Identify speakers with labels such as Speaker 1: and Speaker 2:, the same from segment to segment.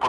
Speaker 1: på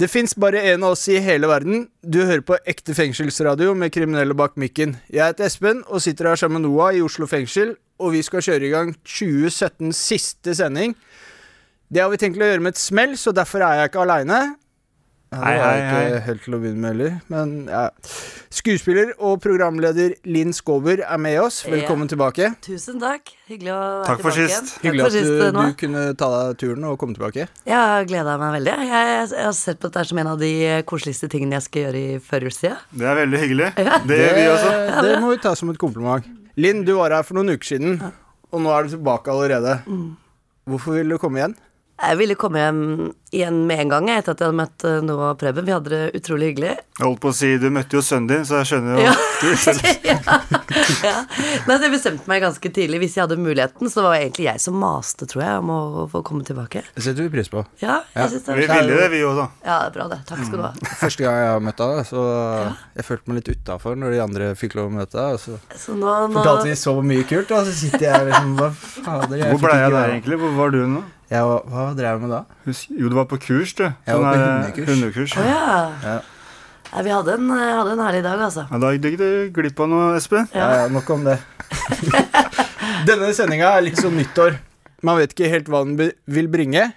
Speaker 2: Det fins bare én av oss i hele verden. Du hører på ekte fengselsradio med kriminelle bak mikken. Jeg heter Espen og sitter her sammen med Noah i Oslo fengsel, og vi skal kjøre i gang 2017s siste sending. Det har vi tenkt å gjøre med et smell, så derfor er jeg ikke aleine.
Speaker 3: Hei,
Speaker 2: det var jeg
Speaker 3: hei, hei.
Speaker 2: ikke helt til å begynne med heller, men ja. Skuespiller og programleder Linn Skåber er med oss. Velkommen tilbake.
Speaker 4: Tusen takk. Hyggelig å være
Speaker 3: Takk for
Speaker 4: tilbake
Speaker 3: sist.
Speaker 4: igjen.
Speaker 2: Hyggelig
Speaker 4: Takk for
Speaker 2: at du,
Speaker 4: sist, Noah.
Speaker 2: du kunne ta deg turen og komme tilbake.
Speaker 4: Jeg har gleda meg veldig. Jeg, jeg har sett på dette som en av de koseligste tingene jeg skal gjøre i førjulstida.
Speaker 3: Det er veldig hyggelig. Det gjør vi også.
Speaker 2: Eh, Det må vi ta som et kompliment. Linn, du var her for noen uker siden, og nå er du tilbake allerede. Hvorfor vil du komme igjen?
Speaker 4: Jeg ville komme hjem igjen med en gang jeg, etter at jeg hadde møtt eh, Noah og Preben. Vi hadde det utrolig hyggelig.
Speaker 3: Jeg holdt på å si du møtte jo sønnen din, så jeg skjønner jo
Speaker 4: Ja.
Speaker 3: Du skjønner.
Speaker 4: ja. Nei, så Jeg bestemte meg ganske tidlig. Hvis jeg hadde muligheten, så var det egentlig jeg som maste, tror jeg, om å få komme tilbake.
Speaker 2: Det setter vi pris på.
Speaker 4: Ja,
Speaker 2: Ja,
Speaker 4: jeg synes det
Speaker 3: Vi
Speaker 4: var
Speaker 3: ville det, Mm. vi òg, da.
Speaker 4: Ja, det er bra, det. Takk skal du ha.
Speaker 2: Første gang jeg har møtt deg, så jeg følte meg litt utafor når de andre fikk lov å møte deg. Og så
Speaker 4: Så nå, nå
Speaker 2: fortalte de så mye kult, og så sitter jeg liksom Hva fader? Jeg
Speaker 3: Hvor
Speaker 2: fikk
Speaker 3: ble
Speaker 2: ikke
Speaker 3: jeg der,
Speaker 2: være med.
Speaker 3: egentlig? Hvor var du nå?
Speaker 2: Jeg var, hva drev jeg med da?
Speaker 3: Husk- Jo, du var på kurs, du.
Speaker 2: Jeg var på
Speaker 3: Sånn, eh,
Speaker 2: hundekurs.
Speaker 3: hundekurs.
Speaker 4: Å
Speaker 3: ja.
Speaker 4: ja.
Speaker 2: Ja.
Speaker 4: Nei, vi hadde en, hadde en herlig dag, altså.
Speaker 3: Ja, da gikk du glipp av noe, Espen.
Speaker 2: Ja, ja, nok om det. Denne sendinga er litt som nyttår. Man vet ikke helt hva den be- vil bringe.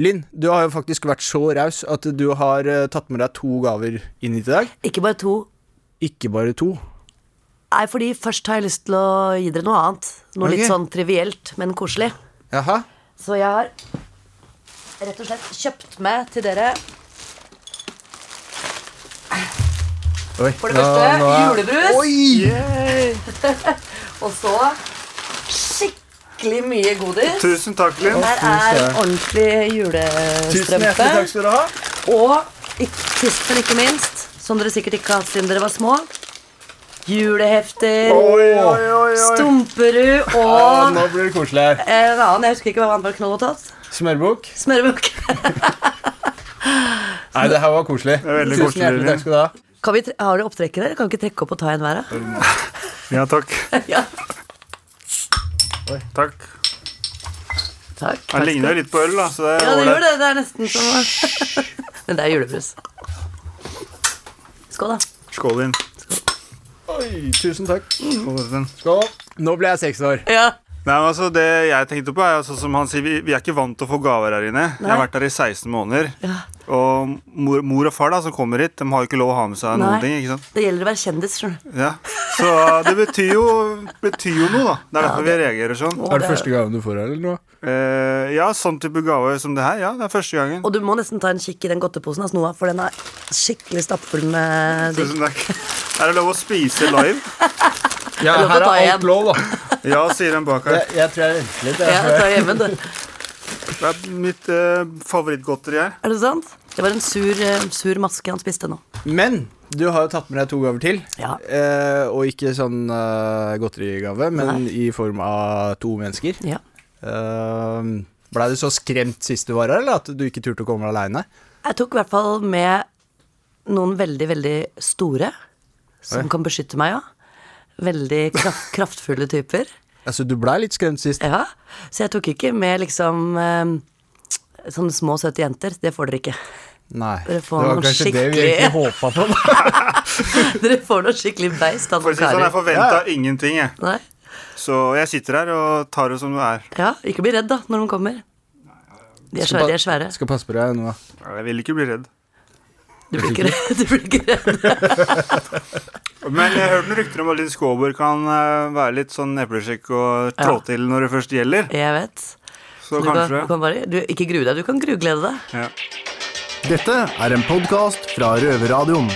Speaker 2: Linn, du har jo faktisk vært så raus at du har eh, tatt med deg to gaver inn hit i dag.
Speaker 4: Ikke bare to.
Speaker 2: Ikke bare to.
Speaker 4: Nei, fordi først har jeg lyst til å gi dere noe annet. Noe
Speaker 2: Ok.
Speaker 4: litt sånn trivielt, men koselig.
Speaker 2: Jaha.
Speaker 4: Så jeg har rett og slett kjøpt med til dere
Speaker 2: Oi.
Speaker 4: for det første julebrus,
Speaker 2: Oi!
Speaker 4: og så skikkelig mye godis.
Speaker 3: Tusen takk, Linn.
Speaker 4: Her er en ordentlig julestrømpe.
Speaker 2: skal du ha.
Speaker 4: Og ikk- sist, men ikke minst, som dere sikkert ikke har hatt siden dere var små, julehefter,
Speaker 2: oi,
Speaker 4: Stumperud
Speaker 2: Ja,
Speaker 4: og
Speaker 2: nå blir det koselig her.
Speaker 4: en annen, jeg husker ikke hva han var knoll og tatt.
Speaker 2: Smørbukk.
Speaker 4: Smørebukk.
Speaker 2: Nei, det her var koselig.
Speaker 3: er veldig
Speaker 2: Tusen
Speaker 3: koselig,
Speaker 2: hjertelig
Speaker 3: Linn.
Speaker 2: takk skal du ha.
Speaker 4: Kan vi tre har dere opptrekket der? Kan vi ikke trekke opp og ta en hver? da?
Speaker 3: Ja, takk.
Speaker 4: Ja.
Speaker 3: Takk.
Speaker 4: Takk.
Speaker 3: Den ligner jo litt på øl, da. Så det er
Speaker 4: Ja, det gjør
Speaker 3: ålreit.
Speaker 4: det. Det er nesten som å Men det er julebrus. Skål, da.
Speaker 3: Skål, Linn.
Speaker 2: Oi, tusen takk.
Speaker 3: Skål, Espen.
Speaker 2: Skål. Nå ble jeg seks år.
Speaker 4: Ja.
Speaker 3: Nei, men altså Det jeg tenkte på, er jo sånn som han sier, vi, vi er ikke vant til å få gaver her inne. Jeg har vært her i 16 måneder. Og mor, mor og far da, som kommer hit, de har jo ikke lov å ha med seg
Speaker 4: Nei.
Speaker 3: noen ting. ikke sant?
Speaker 4: Det gjelder å være kjendis, skjønner du.
Speaker 3: Ja. Så det betyr jo, betyr jo noe, da. Det er derfor vi reagerer sånn.
Speaker 4: Å,
Speaker 2: Er det
Speaker 4: det er-
Speaker 2: første gaven du får her, eller noe?
Speaker 3: Eh, ja, sånn type gave som det her. Ja, det er første gangen.
Speaker 4: Og du må nesten ta en kikk i den godteposen hans, Noah, for den er skikkelig stappfull med digg.
Speaker 3: Tusen takk. Er det lov å spise live?
Speaker 2: Ja,
Speaker 4: lov å
Speaker 2: her
Speaker 4: ta
Speaker 2: er
Speaker 4: igjen.
Speaker 2: alt lov, da.
Speaker 3: Ja, sier den bak her.
Speaker 2: Jeg, jeg tror jeg venter litt.
Speaker 4: Ja,
Speaker 2: Jeg,
Speaker 4: ta hjemme, du.
Speaker 3: Det er mitt eh, favorittgodteri her.
Speaker 4: Er det sant? Det var en sur, eh, sur maske han spiste nå.
Speaker 2: Men du har jo tatt med deg to gaver til.
Speaker 4: Ja.
Speaker 2: Eh, og ikke sånn eh, godterigave, men i form av to mennesker.
Speaker 4: Ja.
Speaker 2: Eh, Blei du så skremt sist du var her, eller at du ikke turte å komme aleine?
Speaker 4: Jeg tok i hvert fall med noen veldig, veldig store som
Speaker 2: Oi.
Speaker 4: kan beskytte meg, ja. Veldig kraft, kraftfulle typer.
Speaker 2: Altså, du blei litt skremt sist.
Speaker 4: Ja. Så jeg tok ikke med liksom eh, sånne små, søte jenter. Det får dere ikke.
Speaker 2: Nei.
Speaker 4: Dere får
Speaker 2: det var
Speaker 4: noe
Speaker 2: kanskje det vi
Speaker 4: skikkelig-
Speaker 2: egentlig håpa på. da.
Speaker 4: Dere får noe skikkelig beist av
Speaker 3: For å
Speaker 4: noen
Speaker 3: si det sånn, Jeg
Speaker 4: karer.
Speaker 3: forventa ingenting, jeg.
Speaker 4: Nei.
Speaker 3: Så jeg sitter her og tar det som det er.
Speaker 4: Ja, ikke bli redd, da, når de kommer. De er svære. De er svære.
Speaker 2: Skal passe på deg nå.
Speaker 3: Jeg vil ikke bli redd.
Speaker 4: Du blir ikke redd. Du blir ikke redd.
Speaker 3: Men jeg hørte noen rykter om at Linn Skåber kan eh, være litt sånn eplesjekk og trå
Speaker 4: Ja.
Speaker 3: til når det først gjelder.
Speaker 4: Jeg vet.
Speaker 3: Så
Speaker 4: Du kan, du
Speaker 3: kanskje
Speaker 4: kan bare, du, ikke grue deg. Du kan gruglede deg.
Speaker 3: ja.
Speaker 5: Dette er en podkast fra Røverradioen.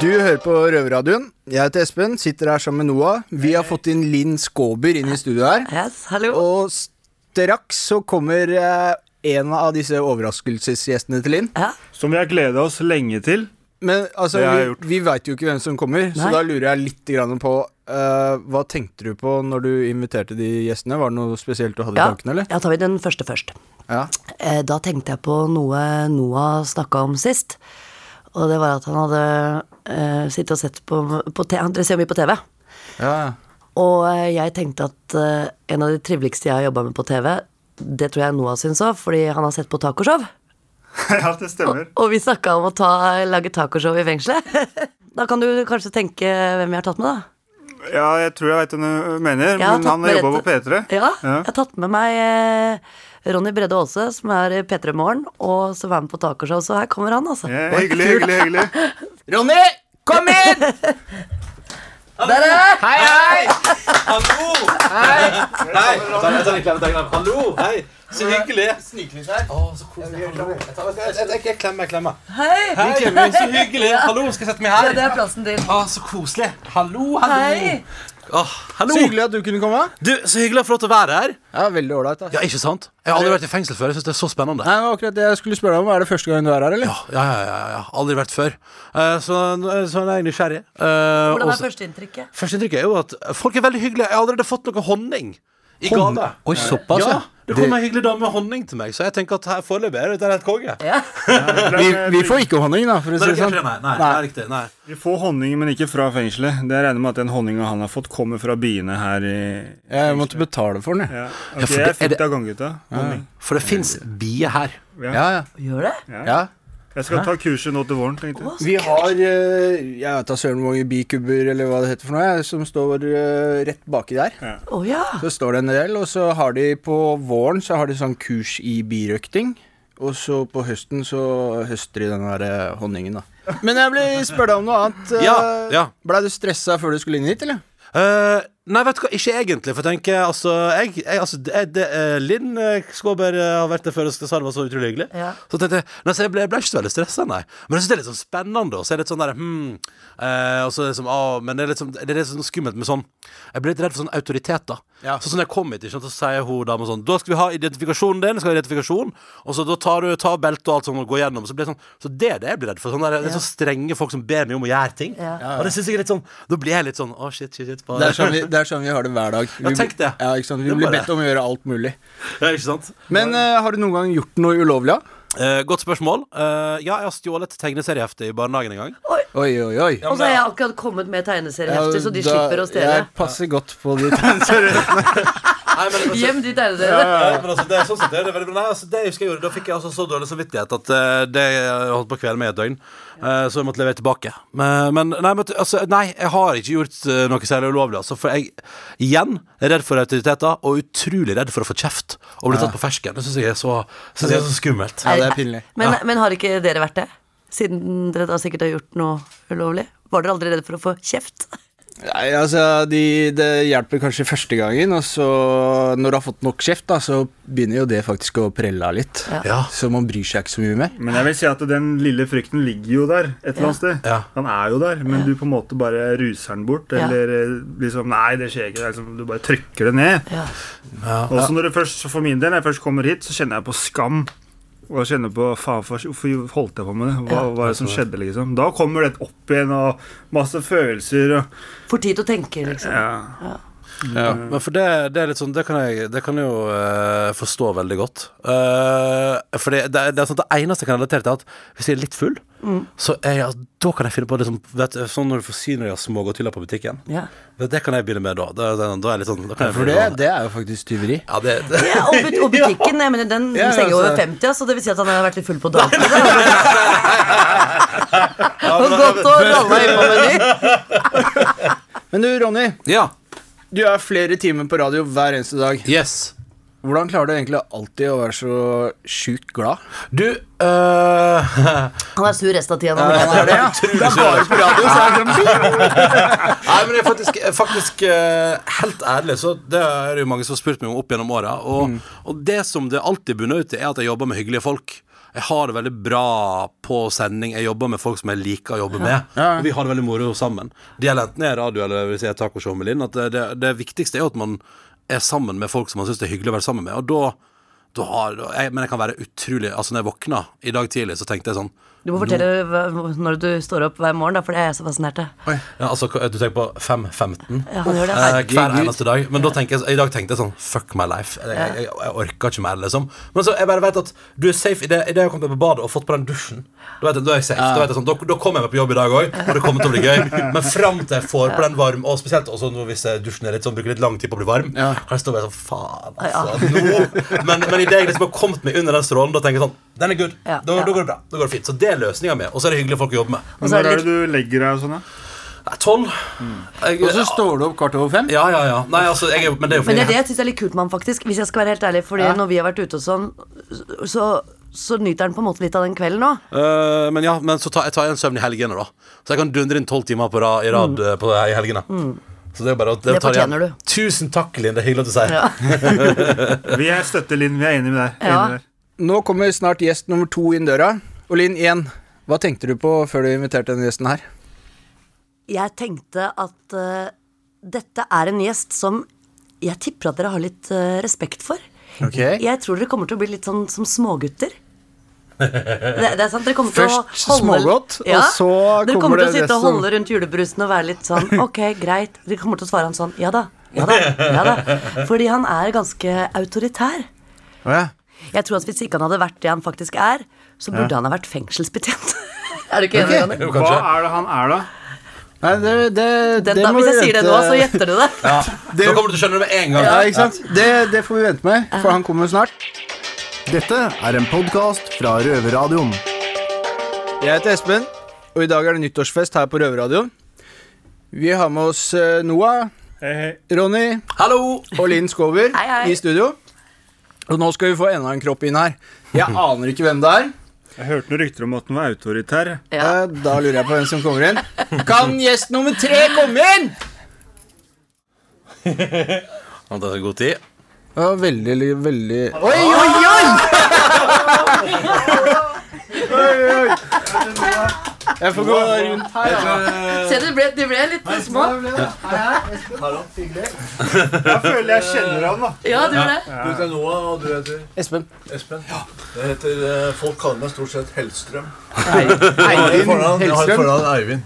Speaker 2: Du hører på Røverradioen. Jeg heter Espen, sitter her sammen med Noah. Vi har fått inn Linn Skåber inn i studio her.
Speaker 4: Yes, hallo.
Speaker 2: Og straks så kommer eh, en av disse overraskelsesgjestene til Linn.
Speaker 4: Ja.
Speaker 3: Som vi har gleda oss lenge til.
Speaker 2: Men altså,
Speaker 3: Det har jeg
Speaker 2: vi, vi veit jo ikke hvem som kommer, så
Speaker 4: Nei.
Speaker 2: da lurer jeg litt grann på eh, Hva tenkte du på når du inviterte de gjestene? Var det noe spesielt du hadde i
Speaker 4: Ja,
Speaker 2: tankene, eller?
Speaker 4: ja, tar vi den første først.
Speaker 2: Ja.
Speaker 4: Eh, Da tenkte jeg på noe Noah snakka om sist. Og det var at han hadde eh, sittet og sett på, på te- Han ser jo mye på TV.
Speaker 2: ja.
Speaker 4: Og eh, jeg tenkte at eh, en av de triveligste jeg har jobba med på TV, det tror jeg Noah syns òg, fordi han har sett på tacoshow.
Speaker 3: ja, det stemmer.
Speaker 4: Og vi snakka om å ta, lage tacoshow i fengselet. da kan du kanskje tenke hvem jeg har tatt med, da.
Speaker 3: Ja, jeg tror jeg veit hvem du mener,
Speaker 4: Jeg har
Speaker 3: men
Speaker 4: tatt
Speaker 3: han
Speaker 4: med
Speaker 3: jobba på
Speaker 4: dette-
Speaker 3: P3.
Speaker 4: Ja,
Speaker 3: Ja.
Speaker 4: jeg har tatt med meg eh, Ronny Bredde Aase, som er i P3 Morgen, og som er med på tacoshow, så her kommer han, altså.
Speaker 3: Ja, hyggelig, hyggelig, hyggelig.
Speaker 2: Ronny, kom inn! Hei, hei!
Speaker 6: Hallo! Hei! Hei! Jeg tar- jeg tar en klem, jeg tar en klem. Hallo! Hei! Så hyggelig! Sniklys her. Å, så koselig. Hallo. Jeg tar- jeg- jeg- jeg- Jeg klemmer, jeg klemmer.
Speaker 4: Hei!
Speaker 6: Hei! Så hyggelig! Hallo, skal jeg sette meg her?
Speaker 4: Det er plassen din.
Speaker 6: Å, så koselig. Hallo, hallo.
Speaker 4: Hei!
Speaker 6: Åh, hallo.
Speaker 2: Så hyggelig at du kunne komme.
Speaker 6: Du, så hyggelig å få lov til å være her.
Speaker 2: Ja, Veldig ålreit.
Speaker 6: Ja,
Speaker 2: ass.
Speaker 6: ikke sant? Jeg har aldri vært i fengsel før. Jeg synes det er så spennende.
Speaker 2: Nei, det var akkurat det jeg skulle spørre deg om. Er det første gang du er her, eller?
Speaker 6: Ja, ja, ja, ja, ja. Aldri vært før. Eh, Så, så er jeg nysgjerrig. Eh,
Speaker 4: Hvordan er
Speaker 6: og så-
Speaker 4: førsteinntrykket?
Speaker 6: Førsteinntrykket er jo at folk er veldig hyggelige. Jeg har allerede fått noe honning i
Speaker 2: Hon-
Speaker 6: gave.
Speaker 7: Oi, såpass,
Speaker 6: ja,
Speaker 7: ja.
Speaker 6: det kom ei hyggelig dame med honning til meg, så jeg tenker at her foreløpig er dette helt konge.
Speaker 4: Ja.
Speaker 2: Vi, vi får ikke honning, da, for
Speaker 6: Nei,
Speaker 2: å si
Speaker 6: det er
Speaker 2: det sånn.
Speaker 6: ikke det, nei, nei, det er riktig, nei.
Speaker 3: eh, Vi får honning, men ikke fra fengselet. Det regner med at den honninga han har fått, kommer fra biene her i
Speaker 2: Jeg måtte betale for den, jeg.
Speaker 3: ja.
Speaker 7: Ja, for
Speaker 3: Ok,
Speaker 7: det-
Speaker 3: Jeg
Speaker 7: er
Speaker 3: fikk
Speaker 7: det-
Speaker 3: det av ganggutta. Honning.
Speaker 7: For det fins bier her.
Speaker 2: Ja, ja.
Speaker 4: Gjør det?
Speaker 2: ja.
Speaker 3: Jeg skal ta kurset nå til våren, tenkte jeg.
Speaker 2: Vi har eh, Jeg vet da søren hvor mange bikubber eller hva det heter for noe, jeg, som står eh, rett baki der.
Speaker 4: Å ja.
Speaker 2: Så står det en del, og så har de på våren så har de sånn kurs i birøkting. Og så på høsten så høster de den der eh, honningen, da. Men jeg vil spørre deg om noe annet. eh,
Speaker 6: Ja, ja.
Speaker 2: Blei du stressa før du skulle inn hit, eller?
Speaker 6: Eh, nei, vet du hva, ikke egentlig, for jeg tenker altså, jeg, jeg, altså det, det, eh, Linn eh, Skåber eh, har vært der før og sa det var så utrolig hyggelig.
Speaker 4: Ja.
Speaker 6: Så tenkte jeg Nei, så jeg ble, jeg ble ikke så veldig stressa, nei. Men jeg synes det er litt sånn spennende. Og så er det litt sånn der, hmm, eh, og så er det liksom, ah, Men det er litt sånn, det er litt sånn skummelt med sånn Jeg blir litt redd for sånn autoritet, da.
Speaker 2: Ja.
Speaker 6: Så sånn jeg kom hit, ikke sant, så sier hun dama sånn Da skal vi ha identifikasjonen din, skal ha identifikasjon, og så da tar du tar beltet og alt sånn og går gjennom. Så, blir det sånn, så det er det jeg blir redd for. Sånn der, Det er så strenge folk som ber meg om å gjøre ting.
Speaker 4: Ja.
Speaker 6: Og det synes jeg er litt sånn Da blir jeg litt sånn Å, shit, shit, shit. bare-
Speaker 2: Det er sånn vi, det er sånn vi har det hver dag. Vi,
Speaker 6: Ja, tenk det.
Speaker 2: Ja, ikke sant?
Speaker 6: Det
Speaker 2: Vi
Speaker 6: er
Speaker 2: blir
Speaker 6: bare-
Speaker 2: bedt om å gjøre alt mulig.
Speaker 6: Ja, ikke sant?
Speaker 2: Men eh, har du noen gang gjort noe ulovlig? da?
Speaker 6: Eh, godt spørsmål. Eh, ja, jeg har stjålet tegneseriehefte i barnehagen en gang.
Speaker 2: Oi, oi, oi.
Speaker 4: Og så har jeg akkurat kommet med tegneseriehefter, så de
Speaker 2: Ja, da-
Speaker 4: slipper å stjele.
Speaker 2: Jeg passer godt på de tegneseriene.
Speaker 6: Nei, men, altså,
Speaker 4: Gjem de tegneseriene.
Speaker 6: Nei, men altså, det er sånn sett, det er veldig bra. Nei, altså, det jeg husker jeg gjorde, da fikk jeg altså så dårlig samvittighet at eh, det holdt på å kvele meg i et døgn. Eh, så jeg måtte levere tilbake. Men, men, nei, men altså, nei, jeg har ikke gjort eh, noe særlig ulovlig. Altså, for jeg, igjen, er redd for autoriteter, og utrolig redd for å få kjeft og bli tatt på fersken. Det syns jeg er så, synes jeg er så skummelt.
Speaker 2: Ja, det er pinlig.
Speaker 4: Men, men har ikke dere vært det? Siden dere da sikkert har gjort noe ulovlig? Var dere aldri redde for å få kjeft?
Speaker 2: Nei, altså, de, Det hjelper kanskje første gangen, og så når du har fått nok kjeft, da, så begynner jo det faktisk å prelle av litt.
Speaker 6: Ja.
Speaker 2: Så man bryr seg ikke så mye mer.
Speaker 3: Men jeg vil si at den lille frykten ligger jo der et eller annet sted.
Speaker 6: Ja.
Speaker 3: Han er jo der, men du på en måte bare ruser den bort.
Speaker 4: Ja.
Speaker 3: Eller eh, liksom Nei, det skjer ikke. Det er liksom, du bare trykker det ned.
Speaker 4: Ja.
Speaker 3: Også Altså, når du først, for min del, når jeg først kommer hit, så kjenner jeg på skam. Og jeg kjenner på faen, for- hvorfor holdt jeg på med det? Hva var det som skjedde, liksom? Da kommer det opp igjen, og masse følelser og
Speaker 4: For tid til å tenke, liksom.
Speaker 3: ja.
Speaker 2: Mm.
Speaker 6: Men for det, det er litt sånn Det kan jeg, det kan jeg jo eh, forstå veldig godt. Eh, for det, det, er- det er sånn at det eneste jeg kan relatere til, er at hvis jeg er litt full,
Speaker 2: Mm.
Speaker 6: så er jeg, da kan jeg finne på det som vet, du, Sånn når du får syner av smågodthyller på butikken.
Speaker 4: Ja.
Speaker 6: Det, det kan jeg begynne med da. Det, det, da er jeg litt sånn da kan jeg
Speaker 2: For det,
Speaker 6: begynne med-
Speaker 2: det er jo faktisk tyveri.
Speaker 6: ja, det, det.
Speaker 4: Ja, og, but og butikken, jeg mener, den
Speaker 2: Ja, ja,
Speaker 4: stenger jo
Speaker 2: så-
Speaker 4: over 50, ja, så det vil si at han har vært litt full på dagen. og gått og ralla innom en ny.
Speaker 2: Men du, Ronny.
Speaker 6: Ja.
Speaker 2: Du er flere timer på radio hver eneste dag.
Speaker 6: Yes.
Speaker 2: Hvordan klarer du egentlig alltid å være så sjukt glad?
Speaker 6: Du eh,
Speaker 4: Han er sur resten av tida. når han er-
Speaker 2: Det er bare på radio, så er det sånn
Speaker 6: Nei, men jeg er faktisk, faktisk eh, helt ærlig, så det er det jo mange som har spurt meg om opp gjennom åra. Og, og det som det alltid bunner ut i, er at jeg jobber med hyggelige folk. Jeg har det veldig bra på sending. Jeg jobber med folk som jeg liker å jobbe med. Og vi har det veldig moro sammen. Det gjelder enten det er radio eller hvis jeg er tacoshow med Linn. At det, det, det viktigste er jo at man er sammen med folk som man syns det er hyggelig å være sammen med. Og da, da har, da- jeg, men jeg kan være utrolig Altså, når jeg våkna i dag tidlig, så tenkte jeg sånn
Speaker 4: Du må fortelle hva- når du står opp hver morgen, da, for det er jeg så fascinert av.
Speaker 6: Ja, altså, hva- du tenker på 5.15
Speaker 4: Ja, han gjør det.
Speaker 6: eh, hver
Speaker 4: Herregud.
Speaker 6: eneste dag. Men da tenker jeg, i dag tenkte jeg sånn Fuck my life. Jeg, jeg, jeg orker ikke mer, liksom. Men så jeg bare vet at du er safe idet jeg har kommet meg på badet og fått på den dusjen. Da, vet jeg, da er jeg safe. Da, vet jeg sånn, da, da kommer jeg meg på jobb i dag òg, og det kommer til å bli gøy. Men fram til jeg får på den varm, og spesielt også nå hvis jeg dusjen er litt sånn, bruker litt lang tid på å bli varm, kan jeg stå og være sånn Faen, altså. Nå. Men, men idet jeg liksom har kommet meg under den strålen, da tenker jeg sånn Den er good.
Speaker 4: Ja,
Speaker 6: Da,
Speaker 4: ja.
Speaker 6: da går det bra. Da går det fint. Så det er løsninga mi. Og så er det hyggelige folk å jobbe med.
Speaker 4: Og så er
Speaker 3: Når
Speaker 4: det
Speaker 3: er det du legger deg og sånn, da?
Speaker 6: Nei, Tolv. Jeg-
Speaker 7: Og så står du opp kvart over fem.
Speaker 6: Ja, ja, ja. Nei, altså, jeg, er- men det er jo
Speaker 4: Men
Speaker 6: fordi
Speaker 4: det er det jeg syns er litt kult med ham, faktisk. Hvis jeg skal være helt ærlig, fordi når vi har vært ute og sånn, så, så nyter han på en måte litt av den kvelden òg.
Speaker 6: Øh, men ja, men så tar jeg tar en søvn i helgene, da. Så jeg kan dundre inn tolv timer på rad, i rad eh, på, i helgene. Så det er bare å
Speaker 4: Mm. Det
Speaker 6: tar jeg igjen.
Speaker 4: fortjener du.
Speaker 6: Tusen takk, Linn. Det er hyggelig at du sier
Speaker 4: Ja.
Speaker 3: Vi er støtter Linn. Vi er enige med deg.
Speaker 4: Ja.
Speaker 3: Enige med deg.
Speaker 2: Nå kommer snart gjest nummer to inn døra. Og Linn, igjen, hva tenkte du på før du inviterte denne gjesten her?
Speaker 4: Jeg tenkte at eh, dette er en gjest som jeg tipper at dere har litt eh, respekt for. Jeg tror dere kommer til å bli litt sånn som smågutter. Det, det er sant, dere kommer
Speaker 2: Først
Speaker 4: til å holde
Speaker 2: smågodt, og så
Speaker 4: Dere
Speaker 2: kommer
Speaker 4: kommer til å
Speaker 2: det
Speaker 4: sitte og
Speaker 2: resten.
Speaker 4: holde rundt julebrusen og være litt sånn Ok, greit. Dere kommer til å svare han sånn Ja da. Ja da. ja da Fordi han er ganske autoritær. Jeg tror at Hvis ikke han hadde vært det han faktisk er, så burde han ha vært fengselsbetjent. er du ikke enig? Ronny?
Speaker 6: Jo,
Speaker 3: Hva
Speaker 6: kanskje.
Speaker 3: er det han er, da?
Speaker 2: Nei, det, det,
Speaker 4: Den, da, hvis jeg sier det nå, så gjetter du det.
Speaker 6: Ja. Nå kommer du til å skjønne det med en gang.
Speaker 2: Ja, ikke sant? Det, det får vi vente med, for han kommer snart.
Speaker 5: Dette er en podkast fra Røverradioen.
Speaker 2: Jeg heter Espen, og i dag er det nyttårsfest her på Røverradioen. Vi har med oss eh, Noah,
Speaker 3: Hei, hei.
Speaker 2: Ronny
Speaker 6: Hallo!
Speaker 2: og Linn Skåber
Speaker 4: Hei, hei.
Speaker 2: i studio. Og nå skal vi få enda en kropp inn her. Jeg aner ikke hvem det er.
Speaker 3: Jeg hørte noen rykter om at han var autoritær.
Speaker 4: Ja.
Speaker 2: Eh, Da lurer jeg på hvem som kommer inn. Kan gjest nummer tre komme inn?
Speaker 6: Han tar seg god tid.
Speaker 2: Ja, veldig, li- veldig Oi, oi, oi! Jeg får gå rundt her. da.
Speaker 4: Se, du ble, du ble litt små.
Speaker 3: Jeg føler jeg kjenner han, da.
Speaker 4: Ja, du det.
Speaker 8: Du heter Noah, og du heter
Speaker 2: Espen.
Speaker 8: Espen. Jeg heter, eh, folk kaller meg stort sett Hellstrøm. Jeg
Speaker 2: Eivind
Speaker 8: har et fornavn- jeg har et
Speaker 2: Hellstrøm.
Speaker 8: fornavn Eivind.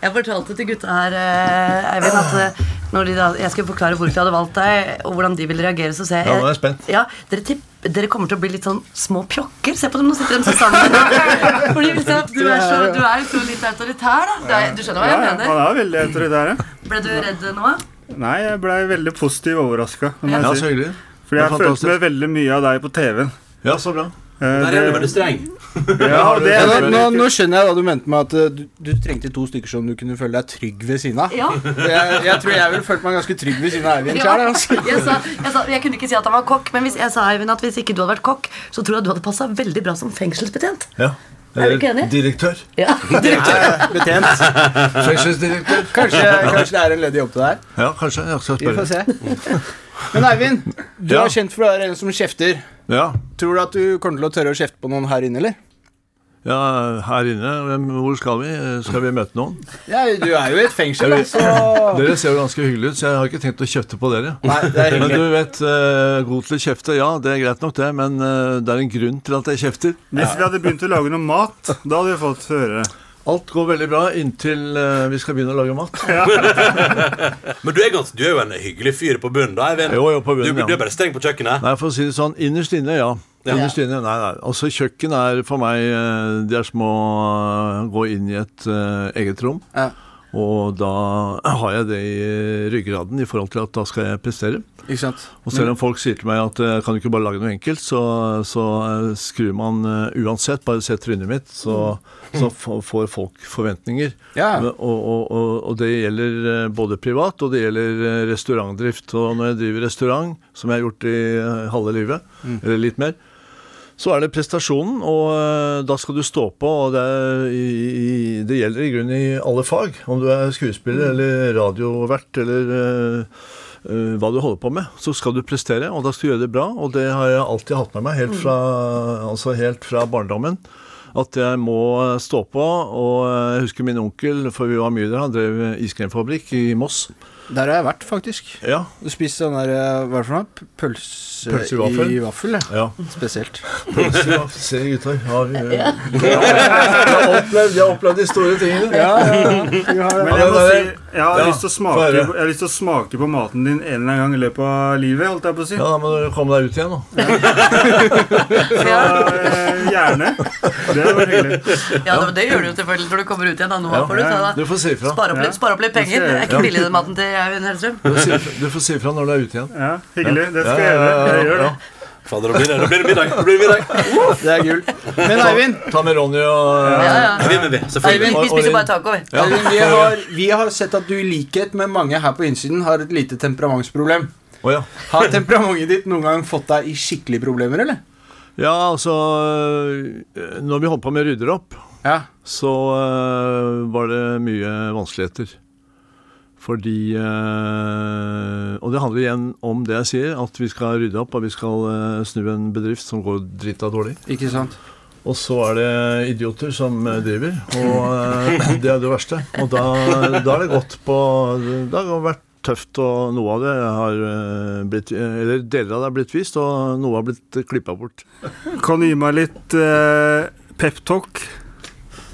Speaker 4: Jeg fortalte til gutta her, eh, Eivind, at eh, når de da, jeg skulle forklare hvorfor jeg hadde valgt deg, og hvordan de ville reagere, så ser jeg
Speaker 8: Ja, nå er jeg spent.
Speaker 4: Ja, dere, tipp- dere kommer til å bli litt sånn små pjokker. Se på dem, nå sitter de så sammen. Fordi liksom, du er så, du er jo litt autoritær, da. Det er, du skjønner hva
Speaker 3: Ja,
Speaker 4: jeg
Speaker 3: ja,
Speaker 4: mener?
Speaker 3: han er veldig autoritær. Ja.
Speaker 4: Ble du redd nå?
Speaker 3: Nei, jeg blei veldig positivt overraska.
Speaker 8: Ja, så hyggelig. Det
Speaker 3: Fordi jeg
Speaker 8: er
Speaker 3: følte
Speaker 8: fantastisk.
Speaker 3: meg veldig mye av deg på TV-en.
Speaker 8: Ja, så bra.
Speaker 3: Eh,
Speaker 6: Der er du veldig streng.
Speaker 3: det- ja, det
Speaker 2: Ja,
Speaker 3: er
Speaker 2: nå, nå, nå skjønner jeg hva du mente med at eh, du, du trengte to stykker som du kunne føle deg trygg ved siden av.
Speaker 4: Ja.
Speaker 2: Jeg, jeg tror jeg ville følt meg ganske trygg ved siden av Eivind
Speaker 4: Ja.
Speaker 2: sjøl. Altså.
Speaker 4: Jeg, sa, jeg, sa, jeg kunne ikke si at han var kokk, men hvis, jeg sa Eivind at hvis ikke du hadde vært kokk, så tror jeg du hadde passa veldig bra som fengselsbetjent.
Speaker 8: Ja.
Speaker 4: Er du ikke enig?
Speaker 8: Direktør.
Speaker 4: Ja.
Speaker 2: Betjent.
Speaker 8: Fengselsdirektør.
Speaker 2: Kanskje, kanskje det er en ledig jobb til deg.
Speaker 8: Ja, kanskje. Jeg skal
Speaker 2: Vi får
Speaker 8: spørre.
Speaker 2: se. Men Eivind, du
Speaker 8: Ja.
Speaker 2: er kjent for å være en som kjefter.
Speaker 8: Ja.
Speaker 2: Tror du at du kommer til å tørre å kjefte på noen her inne, eller?
Speaker 8: ja, her inne. Hvem, hvor skal vi? Eh, Skal vi møte noen?
Speaker 2: Ja, du er jo i et fengsel, altså. da, så
Speaker 8: Dere ser jo ganske hyggelige ut, så jeg har ikke tenkt å kjefte på dere.
Speaker 2: Nei, det er
Speaker 8: Men
Speaker 2: hyggelig.
Speaker 8: du vet, eh, god til å kjefte, ja, det er greit nok det, men eh, det er en grunn til at jeg kjefter.
Speaker 3: Hvis vi hadde begynt å lage noe mat, da hadde vi fått høre det.
Speaker 8: Alt går veldig bra inntil eh, vi skal begynne å lage mat.
Speaker 6: Men du er, ganske, du er jo en hyggelig fyr på bunnen, da, Eivind.
Speaker 8: Jo, jo, på bunnen,
Speaker 6: du,
Speaker 8: ja.
Speaker 6: du er bare streng på kjøkkenet.
Speaker 8: Nei, for å si det sånn, innerst inne, ja.
Speaker 6: Ja.
Speaker 8: Innerst inne, nei, nei. Altså, kjøkken er for meg eh, Det er som å eh, gå inn i et eh, eget rom.
Speaker 2: Ja.
Speaker 8: Og da har jeg det i ryggraden i forhold til at da skal jeg prestere.
Speaker 2: Ikke sant?
Speaker 8: Og selv om folk sier til meg at eh, kan du ikke bare lage noe enkelt, så, så eh, skrur man eh, uansett, bare se trynet mitt, så, så f- får folk forventninger.
Speaker 2: Ja.
Speaker 8: Men- Og, og, og, og det gjelder eh, både privat, og det gjelder eh, restaurantdrift. Og når jeg driver restaurant, som jeg har gjort i eh, halve livet, eller litt mer, så er det prestasjonen, og eh, da skal du stå på. og Det, er, i, i, det gjelder i grunnen i alle fag. Om du er skuespiller eller radiovert eller eh, eh, hva du holder på med, så skal du prestere, og da skal du gjøre det bra. Og det har jeg alltid hatt med meg, helt fra, altså helt fra barndommen. At jeg må eh, stå på. Og eh, jeg husker min onkel, for vi var mye der, han drev iskremfabrikk i Moss.
Speaker 2: Der har jeg vært, faktisk.
Speaker 8: Ja.
Speaker 2: Du spiste sånn der eh, Hva er det for noe? P- Pølse,
Speaker 8: Pølse i vaffel?
Speaker 2: i vaffel? Ja.
Speaker 8: ja.
Speaker 2: Spesielt.
Speaker 8: Se, gutter. Har vi, eh, jeg, har opplevd, jeg har opplevd de store tingene.
Speaker 2: Ja, ja, ja. Vi har det.
Speaker 3: Men jeg
Speaker 8: Ja,
Speaker 3: må si,
Speaker 8: det er-
Speaker 3: jeg har,
Speaker 8: ja,
Speaker 3: lyst til å smake,
Speaker 8: få høre.
Speaker 3: jeg har lyst til å smake på maten din en eller annen gang i løpet av livet, holdt jeg på å si.
Speaker 8: Ja, Da må du komme deg ut igjen, da.
Speaker 3: Ja, eh, gjerne. Det var hyggelig.
Speaker 4: Ja, det, det gjør du jo selvfølgelig når du kommer ut igjen. Da. Nå får du ta
Speaker 8: Du
Speaker 4: da.
Speaker 8: får si ifra.
Speaker 4: Spare opp litt, spare opp litt penger. Det er ikke billig, den maten til Eivind Hellstrøm.
Speaker 8: Du får si ifra- Du får si ifra når du er ute igjen.
Speaker 3: Ja, hyggelig. Det
Speaker 8: Ja,
Speaker 3: skal jeg
Speaker 8: ja, ja,
Speaker 3: gjøre. Jeg
Speaker 8: ja,
Speaker 3: gjør det.
Speaker 8: ja.
Speaker 6: Fader, da blir det- da blir det middag. Da blir det middag.
Speaker 2: det er gull. Men Eivind,
Speaker 8: Ta med Ronny og eh,
Speaker 4: Ja, ja.
Speaker 6: Vi er med, vi. Selvfølgelig.
Speaker 4: Eivind, vi spiser bare taco, vi.
Speaker 2: Eivind vi, har, vi har sett at du i likhet med mange her på innsiden har et lite temperamentsproblem.
Speaker 8: Å ja.
Speaker 2: Har temperamentet ditt noen gang fått deg i skikkelige problemer, eller?
Speaker 8: ja, altså eh, Når vi holdt på med Rydder opp,
Speaker 2: Ja.
Speaker 8: så eh, var det mye vanskeligheter. Fordi eh, Og det handler igjen om det jeg sier, at vi skal rydde opp og vi skal eh, snu en bedrift som går drita dårlig.
Speaker 2: Ikke sant?
Speaker 8: Og så er det idioter som eh, driver, og eh, det er det verste. Og da, da er det gått på Det har vært tøft, og noe av det har eh, blitt Eller deler av det har blitt vist, og noe har blitt klippa bort.
Speaker 3: Kan du gi meg litt eh, pep-talk?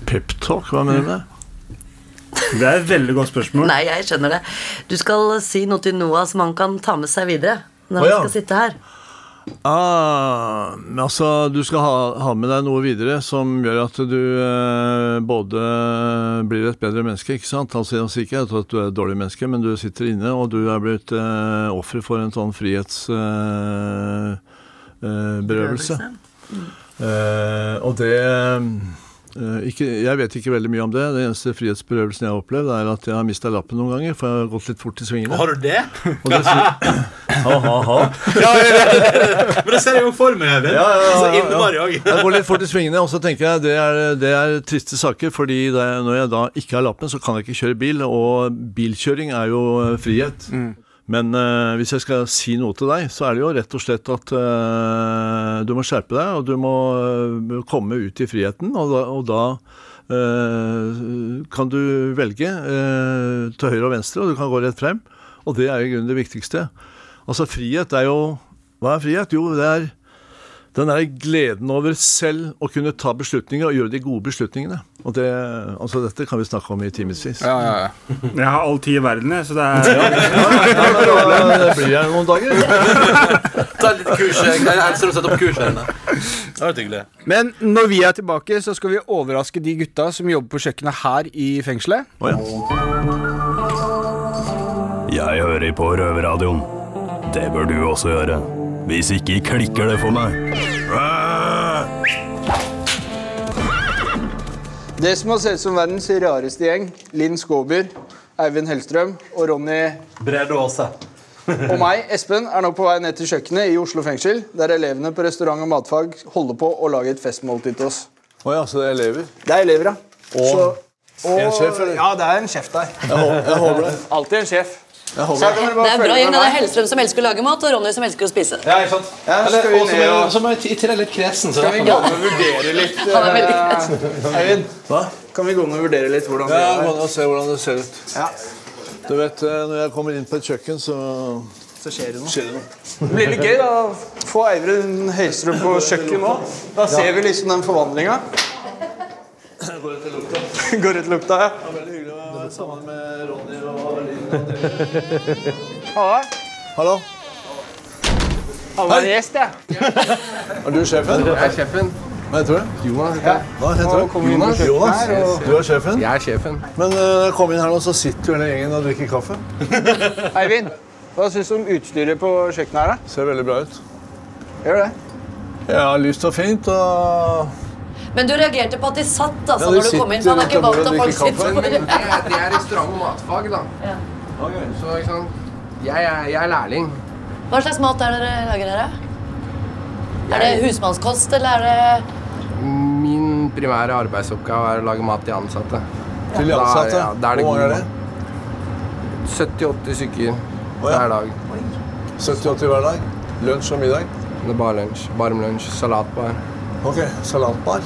Speaker 8: Peptalk, hva mener du med det?
Speaker 3: Det er et veldig godt spørsmål.
Speaker 4: Nei, jeg skjønner det. Du skal si noe til Noah som han kan ta med seg videre. Når
Speaker 8: Å,
Speaker 4: han
Speaker 8: ja.
Speaker 4: skal sitte her.
Speaker 8: Ah, men altså, du skal ha, ha med deg noe videre som gjør at du eh, både blir et bedre menneske, ikke sant? Altså, altså ikke at du er et dårlig menneske, men du sitter inne, og du er blitt eh, offer for en sånn frihetsberøvelse. Eh, eh, berøvelse. eh, og det eh, ikke, Jeg vet ikke veldig mye om det. Den eneste frihetsberøvelsen jeg har opplevd, er at jeg har mista lappen noen ganger, for jeg har gått litt fort i svingene.
Speaker 6: Har du det?
Speaker 8: Og det, ha, ha, ha.
Speaker 6: Ja, ja, ja, ja. Men det ser jeg jo for meg, Eivind.
Speaker 8: Ja, ja, ja,
Speaker 6: Så
Speaker 8: ja, ja.
Speaker 6: innmari òg.
Speaker 8: Jeg går litt fort i svingene, og så tenker jeg det er, det er triste saker, fordi det, når jeg da ikke har lappen, så kan jeg ikke kjøre bil, og bilkjøring er jo eh, frihet. Men eh, hvis jeg skal si noe til deg, så er det jo rett og slett at eh, du må skjerpe deg, og du må eh, komme ut i friheten, og da, og da eh, kan du velge eh, til høyre og venstre, og du kan gå rett frem. Og det er jo i grunnen det viktigste. Altså, frihet er jo Hva er frihet? Jo, det er den der gleden over selv å kunne ta beslutninger og gjøre de gode beslutningene. Og det, altså dette kan vi snakke om i timevis. Ja,
Speaker 3: Jeg har all tid i verden, jeg, så det er
Speaker 8: det blir jeg noen dager.
Speaker 6: Ta litt kurs. Jeg jeg elsker å sette opp kurs her inne. Det har vært hyggelig.
Speaker 2: Men når vi er tilbake, så skal vi overraske de gutta som jobber på kjøkkenet her i fengselet.
Speaker 8: Å, ja.
Speaker 9: Jeg hører på Røverradioen. Det bør du også gjøre. Hvis ikke klikker det for meg.
Speaker 2: Det som har sett ut som verdens rareste gjeng, Linn Skåber, Eivind Hellstrøm og Ronny
Speaker 6: Brede Aase.
Speaker 2: og meg, Espen, er nå på vei ned til kjøkkenet i Oslo fengsel, der elevene på restaurant og matfag holder på å lage et festmåltid til oss.
Speaker 8: Å ja, så det er elever.
Speaker 2: Det er elever, ja.
Speaker 8: Og en sjef, eller?
Speaker 2: Ja, det er en sjef der.
Speaker 8: Jeg håper, jeg håper det.
Speaker 2: Alltid en sjef.
Speaker 8: Jeg håper det.
Speaker 4: Det er bra gjeng. Det er Hellstrøm som elsker å lage mat, og Ronny som elsker å spise.
Speaker 2: Ja, ikke sant? Ja, så skal vi ned og
Speaker 7: Som er i tillegg litt kresen. Så
Speaker 2: Kan vi gå ned og vurdere litt
Speaker 4: Han er veldig
Speaker 2: eh, Eivind,
Speaker 8: Hva?
Speaker 2: kan vi gå ned og vurdere litt hvordan
Speaker 8: Ja,
Speaker 2: det
Speaker 8: gå
Speaker 2: er?
Speaker 8: ned og se hvordan det ser ut.
Speaker 2: Ja,
Speaker 8: Du vet, eh, når jeg kommer inn på et kjøkken, så
Speaker 2: så skjer det noe.
Speaker 8: skjer det noe.
Speaker 2: Det blir litt gøy da, å få Eivind Hellstrøm på kjøkkenet nå. Da ser vi liksom den forvandlinga. Går etter lukta. ja.
Speaker 8: Veldig hyggelig å være sammen med Ronny og Linn.
Speaker 2: Halla.
Speaker 8: Hallo,
Speaker 2: Han var en gjest, jeg.
Speaker 8: er du sjefen?
Speaker 7: er sjefen.
Speaker 8: Hva heter du?
Speaker 7: Jonas heter jeg.
Speaker 8: Hva heter du?
Speaker 7: Jonas.
Speaker 8: Jonas, du er sjefen?
Speaker 7: Jeg er sjefen.
Speaker 8: Men eh, når jeg kommer inn her nå, så sitter jo hele gjengen og drikker kaffe.
Speaker 2: Eivind, hva syns du om utstyret på kjøkkenet her,
Speaker 8: Ser veldig bra ut.
Speaker 2: da? Gjør det?
Speaker 8: Ja, lyst og fint, og
Speaker 4: Men du reagerte på at de satt altså,
Speaker 8: Ja, de
Speaker 4: når du kom inn.
Speaker 8: sitter
Speaker 4: For han er ikke
Speaker 8: rundt
Speaker 4: vant til
Speaker 8: om
Speaker 4: at folk sitter
Speaker 8: bordet og drikker
Speaker 4: på
Speaker 7: Det er, det er restaurant- og matfag, da. Så ikke sant. Jeg er, jeg er lærling.
Speaker 4: Hva slags mat er det dere lager her, da? Er det husmannskost, eller er det
Speaker 7: Min primære arbeidsoppgave er å lage mat til ansatte.
Speaker 8: til de
Speaker 7: Da er-
Speaker 8: ansatte.
Speaker 7: ja, da er det
Speaker 8: Hvor mange
Speaker 7: god
Speaker 8: er det?
Speaker 7: 70-80 stykker
Speaker 8: Å, ja.
Speaker 7: hver dag.
Speaker 8: 70-80 hver dag? Lunsj og middag?
Speaker 7: Det er bare lunsj. Varm lunsj. Salatbar.
Speaker 8: Ok, salatbar.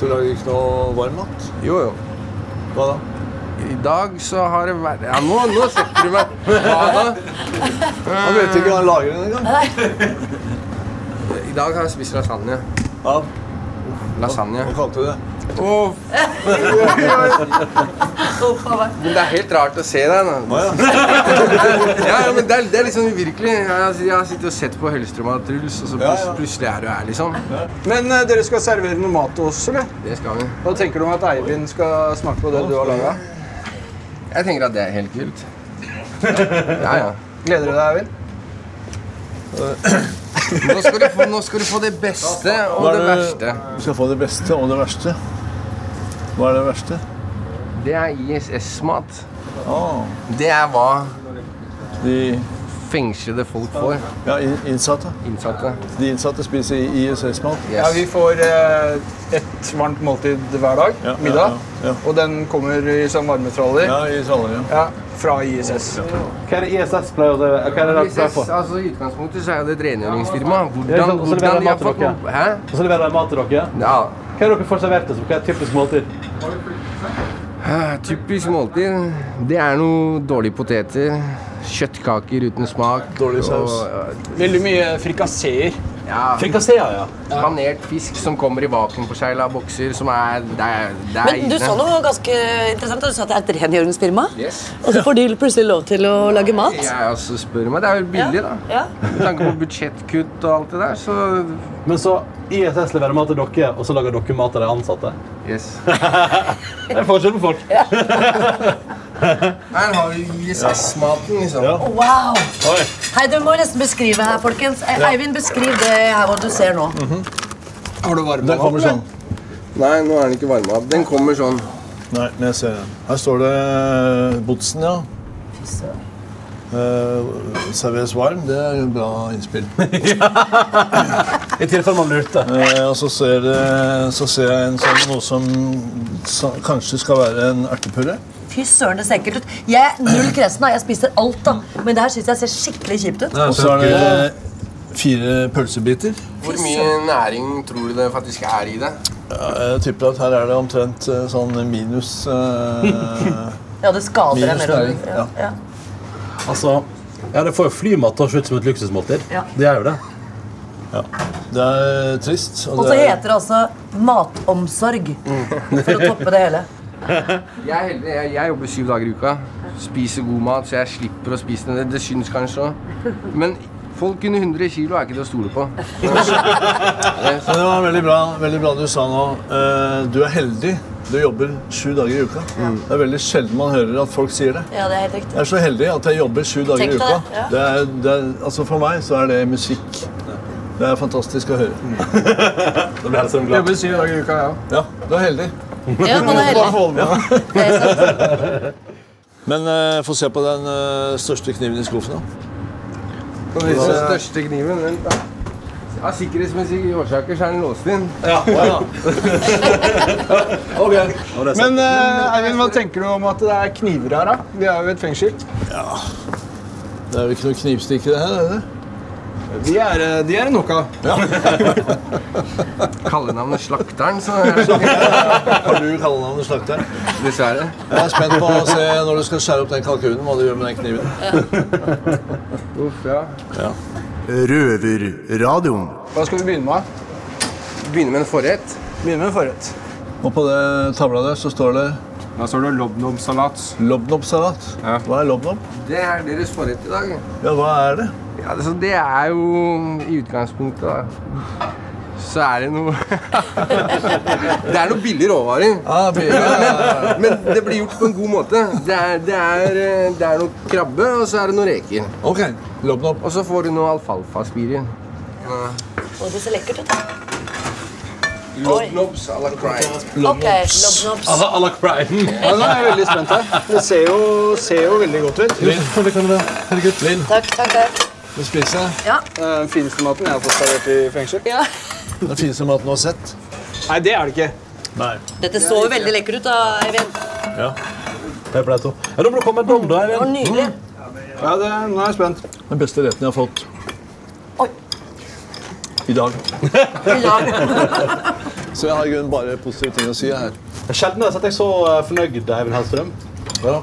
Speaker 8: Du lager ikke noe varm mat?
Speaker 7: Jo, jo.
Speaker 8: Hva da?
Speaker 7: I dag så har det vært Ja, nå, nå setter du meg Hva da?
Speaker 8: Han vet ikke hva han lager den engang.
Speaker 4: Mm.
Speaker 7: I dag har jeg spist lasagne.
Speaker 8: Ja,
Speaker 7: Lasagne.
Speaker 8: hva kalte du det?
Speaker 7: Åh, men det er helt rart å se deg nå. Ja, ja, men det er, det er liksom uvirkelig. Jeg har jeg har sittet og sett på Hellstrøm og Truls, og så
Speaker 8: ja.
Speaker 7: plutselig, plutselig er du her, liksom.
Speaker 2: Men eh, dere skal servere noe mat til oss, eller?
Speaker 7: Det skal vi.
Speaker 2: Hva tenker du om at Eivind skal smake på det du har laga?
Speaker 7: Jeg tenker at det er helt kult. Ja, ja.
Speaker 2: Gleder du deg, Eivind?
Speaker 7: Nå skal du få, nå skal du få det beste og
Speaker 8: Hva er
Speaker 7: det verste.
Speaker 8: Du skal få det beste og det verste. Hva er det verste?
Speaker 7: Det er ISS-mat.
Speaker 8: Ah,
Speaker 7: Det er hva
Speaker 8: de
Speaker 7: fengslede folk får.
Speaker 8: ja, in- innsatte.
Speaker 7: Innsatte.
Speaker 8: De innsatte spiser ISS-mat.
Speaker 2: Ja,
Speaker 7: Yes.
Speaker 2: vi får eh, ett varmt måltid hver dag,
Speaker 8: Ja, ja,
Speaker 2: middag.
Speaker 8: ja, ja.
Speaker 2: Og den kommer i sånn varmetraller. Ja.
Speaker 8: Ja, i Svalbard. Ja.
Speaker 2: fra ISS.
Speaker 10: Hva er det ISS pleier å drive Hva er det dere pleier
Speaker 7: ISS,
Speaker 10: på?
Speaker 7: altså I utgangspunktet så er det et rengjøringsfirma.
Speaker 10: Ja, så-
Speaker 7: Hvordan,
Speaker 10: så leverer
Speaker 7: hvordan de har
Speaker 10: mat til
Speaker 7: fått
Speaker 10: dere?
Speaker 7: noe Hæ?
Speaker 10: Og så leverer de mat til dere.
Speaker 7: Ja,
Speaker 10: Hva er det dere får servert? liksom? Hva er et typisk måltid?
Speaker 7: Ah, Typisk måltid. Det er noe dårlige poteter. Kjøttkaker uten smak. Dårlig saus.
Speaker 10: Veldig mye frikasseer.
Speaker 7: Ja,
Speaker 10: Frikasseer, ja.
Speaker 7: Panert fisk som kommer i vakuumforsegla bokser, som er Det er, det er
Speaker 4: Men du sa noe ganske interessant. Du sa at det er et rengjøringsfirma.
Speaker 7: Yes.
Speaker 4: Og så får de plutselig lov til å lage mat.
Speaker 7: Jeg altså spør meg. Det er jo billig, da.
Speaker 4: Ja.
Speaker 7: Med tanke på budsjettkutt og alt det der, så
Speaker 10: Men så ISS leverer mat til dere, og så lager dere mat til de ansatte.
Speaker 7: Yes.
Speaker 10: Det er forskjell på folk.
Speaker 7: Her har vi ISS-maten, liksom.
Speaker 4: Wow!
Speaker 10: Oi.
Speaker 4: Hei, du må nesten beskrive her, folkens. Eh, Eivind, beskriv det her hva du ser nå.
Speaker 8: Den kommer sånn.
Speaker 7: Nei, nå er den ikke varma opp. Den kommer sånn.
Speaker 8: Nei, men jeg ser den. Her står det eh, Botsen, ja. Uh, serveres varm. Det er et bra innspill.
Speaker 10: I tilfelle man lurte.
Speaker 8: Eh, og så ser, det, så ser jeg en sånn, noe som sa- kanskje skal være en ertepurre.
Speaker 4: Fy søren, det ser ekkelt ut. Jeg er null kresen, da. Jeg spiser alt, da. Men det her syns jeg ser skikkelig kjipt ut.
Speaker 8: Og så er det eh, fire pølsebiter.
Speaker 7: Hvor mye næring tror du det faktisk er i det?
Speaker 8: Jeg tipper at her er det omtrent eh, sånn minus eh,
Speaker 4: Ja, det skader deg mer.
Speaker 8: Minus
Speaker 4: og
Speaker 8: næring,
Speaker 4: mer. Ja, ja.
Speaker 6: Altså, ja, det får jo flymat til å se ut som et luksusmåltid.
Speaker 4: Ja.
Speaker 6: Det er jo det.
Speaker 8: Det er trist.
Speaker 4: Og så
Speaker 8: det er,
Speaker 4: heter det Mm. altså matomsorg. For å toppe det hele.
Speaker 7: Jeg er heldig. Jeg, jeg jobber syv dager i uka. Spiser god mat, så jeg slipper å spise den. Det, det syns kanskje òg. Men folk under 100 kilo er ikke til å stole på.
Speaker 8: Men det var veldig bra, veldig bra du sa nå. Eh, du er heldig. Du jobber sju dager i uka. Det er veldig sjelden man hører at folk sier det.
Speaker 4: Ja, det er helt riktig.
Speaker 8: Jeg er så heldig at jeg jobber sju dager i
Speaker 4: Tenk deg
Speaker 8: uka.
Speaker 4: det, ja.
Speaker 8: Det er, det er, altså for meg så er det musikk. Det er fantastisk å høre.
Speaker 6: Da blir jeg sånn glad.
Speaker 2: Jobber syv dager i uka, jeg
Speaker 8: Ja, du er heldig.
Speaker 4: Ja, man er heldig.
Speaker 2: òg.
Speaker 4: Det er sant.
Speaker 8: Men eh, få se på den eh, største kniven i skuffen. da.
Speaker 7: Den største kniven, vent da. Av sikkerhetsmessige årsaker så er den låst inn.
Speaker 2: Men eh, Eivind, hva tenker du om at det er kniver her, da? Vi er jo i et fengsel.
Speaker 8: Det er jo ikke noe knivstikkere her? er det?
Speaker 2: De er, eh, de er nok av.
Speaker 7: Kallenavnet Slakteren, så er det sånn.
Speaker 8: Har du kallenavnet slakteren?
Speaker 7: dessverre.
Speaker 8: Jeg er spent på å se når du skal skjære opp den kalkunen, hva du gjør med den kniven.
Speaker 7: Uff, ja.
Speaker 5: Røverradioen.
Speaker 2: Hva skal vi begynne med?
Speaker 7: Begynner med en forrett.
Speaker 2: Begynne med en forrett.
Speaker 8: Og på det tavla der så står det
Speaker 11: Da står det lobnobsalat.
Speaker 8: lobnobsalat. Hva er lobnob?
Speaker 7: Det er deres forrett i dag.
Speaker 8: Ja, hva er det?
Speaker 7: Ja, altså, det er jo i utgangspunktet da. Så er det noe Det er noe billige råvarer.
Speaker 8: Ah, by- ja,
Speaker 7: Men det blir gjort på en god måte. Det er, det er, eh, det er noe krabbe, og så er det noe reker.
Speaker 8: ok, lobnob.
Speaker 7: Og så får du noe alfalfaspirer.
Speaker 4: Å, det ser lekkert ut. da.
Speaker 7: Lobnobs à la crime.
Speaker 4: Ok, lobnobs.
Speaker 6: Altså, à la crime.
Speaker 2: Ja, nå er jeg veldig spent her. Det ser jo, ser jo veldig godt ut.
Speaker 8: Linn, herregud, Linn,
Speaker 4: Takk, takk, takk.
Speaker 8: du spiser.
Speaker 2: Den fineste maten Eh, jeg har fått servert i fengsel.
Speaker 8: Den fineste maten du har sett.
Speaker 2: Nei, det er det ikke.
Speaker 8: Nei.
Speaker 4: Dette så jo veldig lekkert ut, da, Eivind.
Speaker 6: Pepper deg to. Ja, nå må du komme med dom, da.
Speaker 4: Det
Speaker 6: Eivind.
Speaker 4: var nydelig.
Speaker 2: Ja, det, nå er jeg spent.
Speaker 8: Den beste retten jeg har fått. I dag. Så jeg har i grunnen bare positive ting å si her.
Speaker 10: Det er sjelden jeg har sett deg så eh, fornøyd, Eivind Hellstrøm.
Speaker 12: Ja.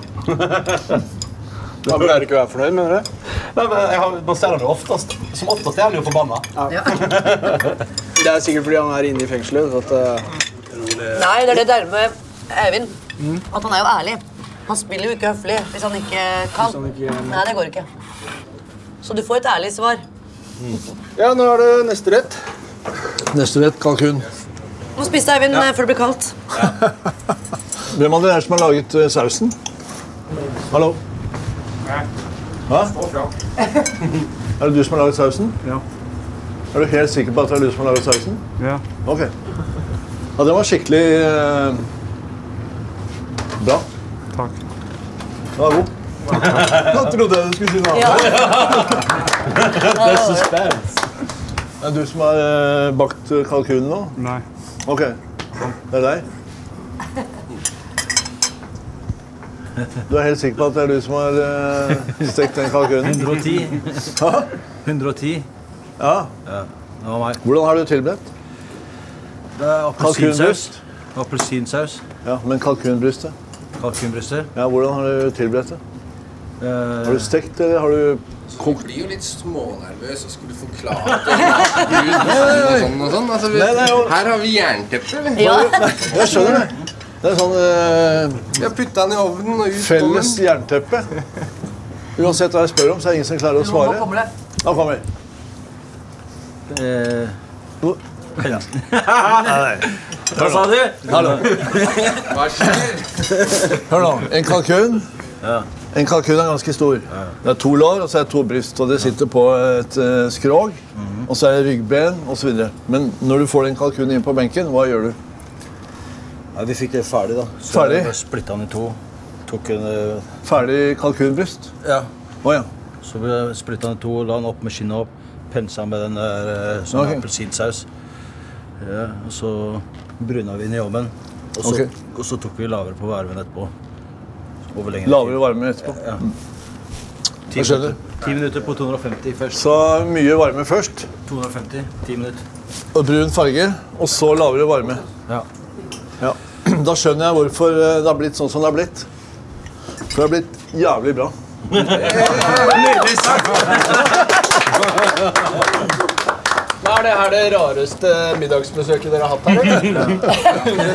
Speaker 2: Da pleier du ikke å være fornøyd, mener du?
Speaker 12: Nei, men jeg har, man ser han jo oftest. Som oftest er han jo forbanna.
Speaker 2: Det er sikkert fordi han er inne i fengselet. At, eh,
Speaker 4: Nei, det er det der med Eivind. At han er jo ærlig. Han spiller jo ikke høflig hvis han ikke kan. Nei, det går ikke. Så du får et ærlig svar.
Speaker 2: Ja, nå er det neste rett.
Speaker 8: Neste rett kalkun.
Speaker 4: Nå spiste Eivind eh, før det ble kaldt.
Speaker 8: Hvem av dere er det som har laget eh, sausen? Hallo? Hæ? Er det du som har laget sausen? Ja. Er du helt sikker på at det er du som har laget sausen?
Speaker 13: Ja.
Speaker 8: Ok. Ja, den var skikkelig eh, bra. Takk. Den var god. Nå trodde jeg du skulle si noe annet. Det er suspense. Er det du som har eh, bakt kalkunen nå? Nei. Ok. Det er deg? Du er helt sikker på at det er du som har eh, stekt den kalkunen?
Speaker 6: 110.
Speaker 8: Hæ?
Speaker 6: 110.
Speaker 8: Ja.
Speaker 6: Ja, det var meg.
Speaker 8: Hvordan har du tilberedt?
Speaker 6: Det er Appelsinsaus.
Speaker 8: Kalkunbryst?
Speaker 6: Appelsinsaus.
Speaker 8: Ja, men kalkunbrystet?
Speaker 6: Kalkunbryster.
Speaker 8: Ja, hvordan har du tilberedt det? Har du stekt, eller har du kokt?
Speaker 7: blir jo litt smånervøs og skulle forklare det. Gud, sånn og sånn og sånn. Altså, vi,
Speaker 8: Nei, nei, og-
Speaker 7: her har vi jernteppe, eller?
Speaker 8: Ja. Jeg skjønner det. Det er sånn eh,
Speaker 7: Jeg putta den i ovnen og ut
Speaker 8: felles jernteppe. Uansett hva jeg spør om, så er det ingen som klarer å svare.
Speaker 7: nå kommer det.
Speaker 8: Da kommer det. Hvor- Ja. Nei, nei.
Speaker 6: Hva sa du?
Speaker 8: Hallo.
Speaker 7: Hva skjer?
Speaker 8: Hør nå. En kalkun. En kalkun er ganske stor. Det er to lår og så er det to bryst. og Det sitter på et eh, skrog. Og så er det ryggben osv. Men når du får den kalkunen inn på benken, hva gjør du?
Speaker 6: Ja, vi fikk det ferdig, da. Så
Speaker 8: Ferdig?
Speaker 6: jeg Splitta den i to. Tok en eh,
Speaker 8: Ferdig kalkunbryst?
Speaker 6: Ja.
Speaker 8: Å ja.
Speaker 6: Så vi splitta den i to, la den opp med skinnet opp, pensa med den der eh, sånn
Speaker 8: Ok.
Speaker 6: appelsinsaus. Ja, og så bruna vi den i ovnen. Og så,
Speaker 8: Ok.
Speaker 6: og så tok vi lavere på varmen etterpå. Over lengre tid.
Speaker 8: Lavere varme etterpå? Mm.
Speaker 6: Ja.
Speaker 8: Jeg skjønner.
Speaker 6: Ti minutter på 250 først.
Speaker 8: Så mye varme først.
Speaker 6: 250, ti minutter.
Speaker 8: Og brun farge. Og så lavere varme.
Speaker 6: Ja.
Speaker 8: Ja. Da skjønner jeg hvorfor eh, det har blitt sånn som det har blitt. For det har blitt jævlig bra.
Speaker 2: Nydelig sagt! Men Er det her det rareste middagsbesøket dere har hatt her? eller?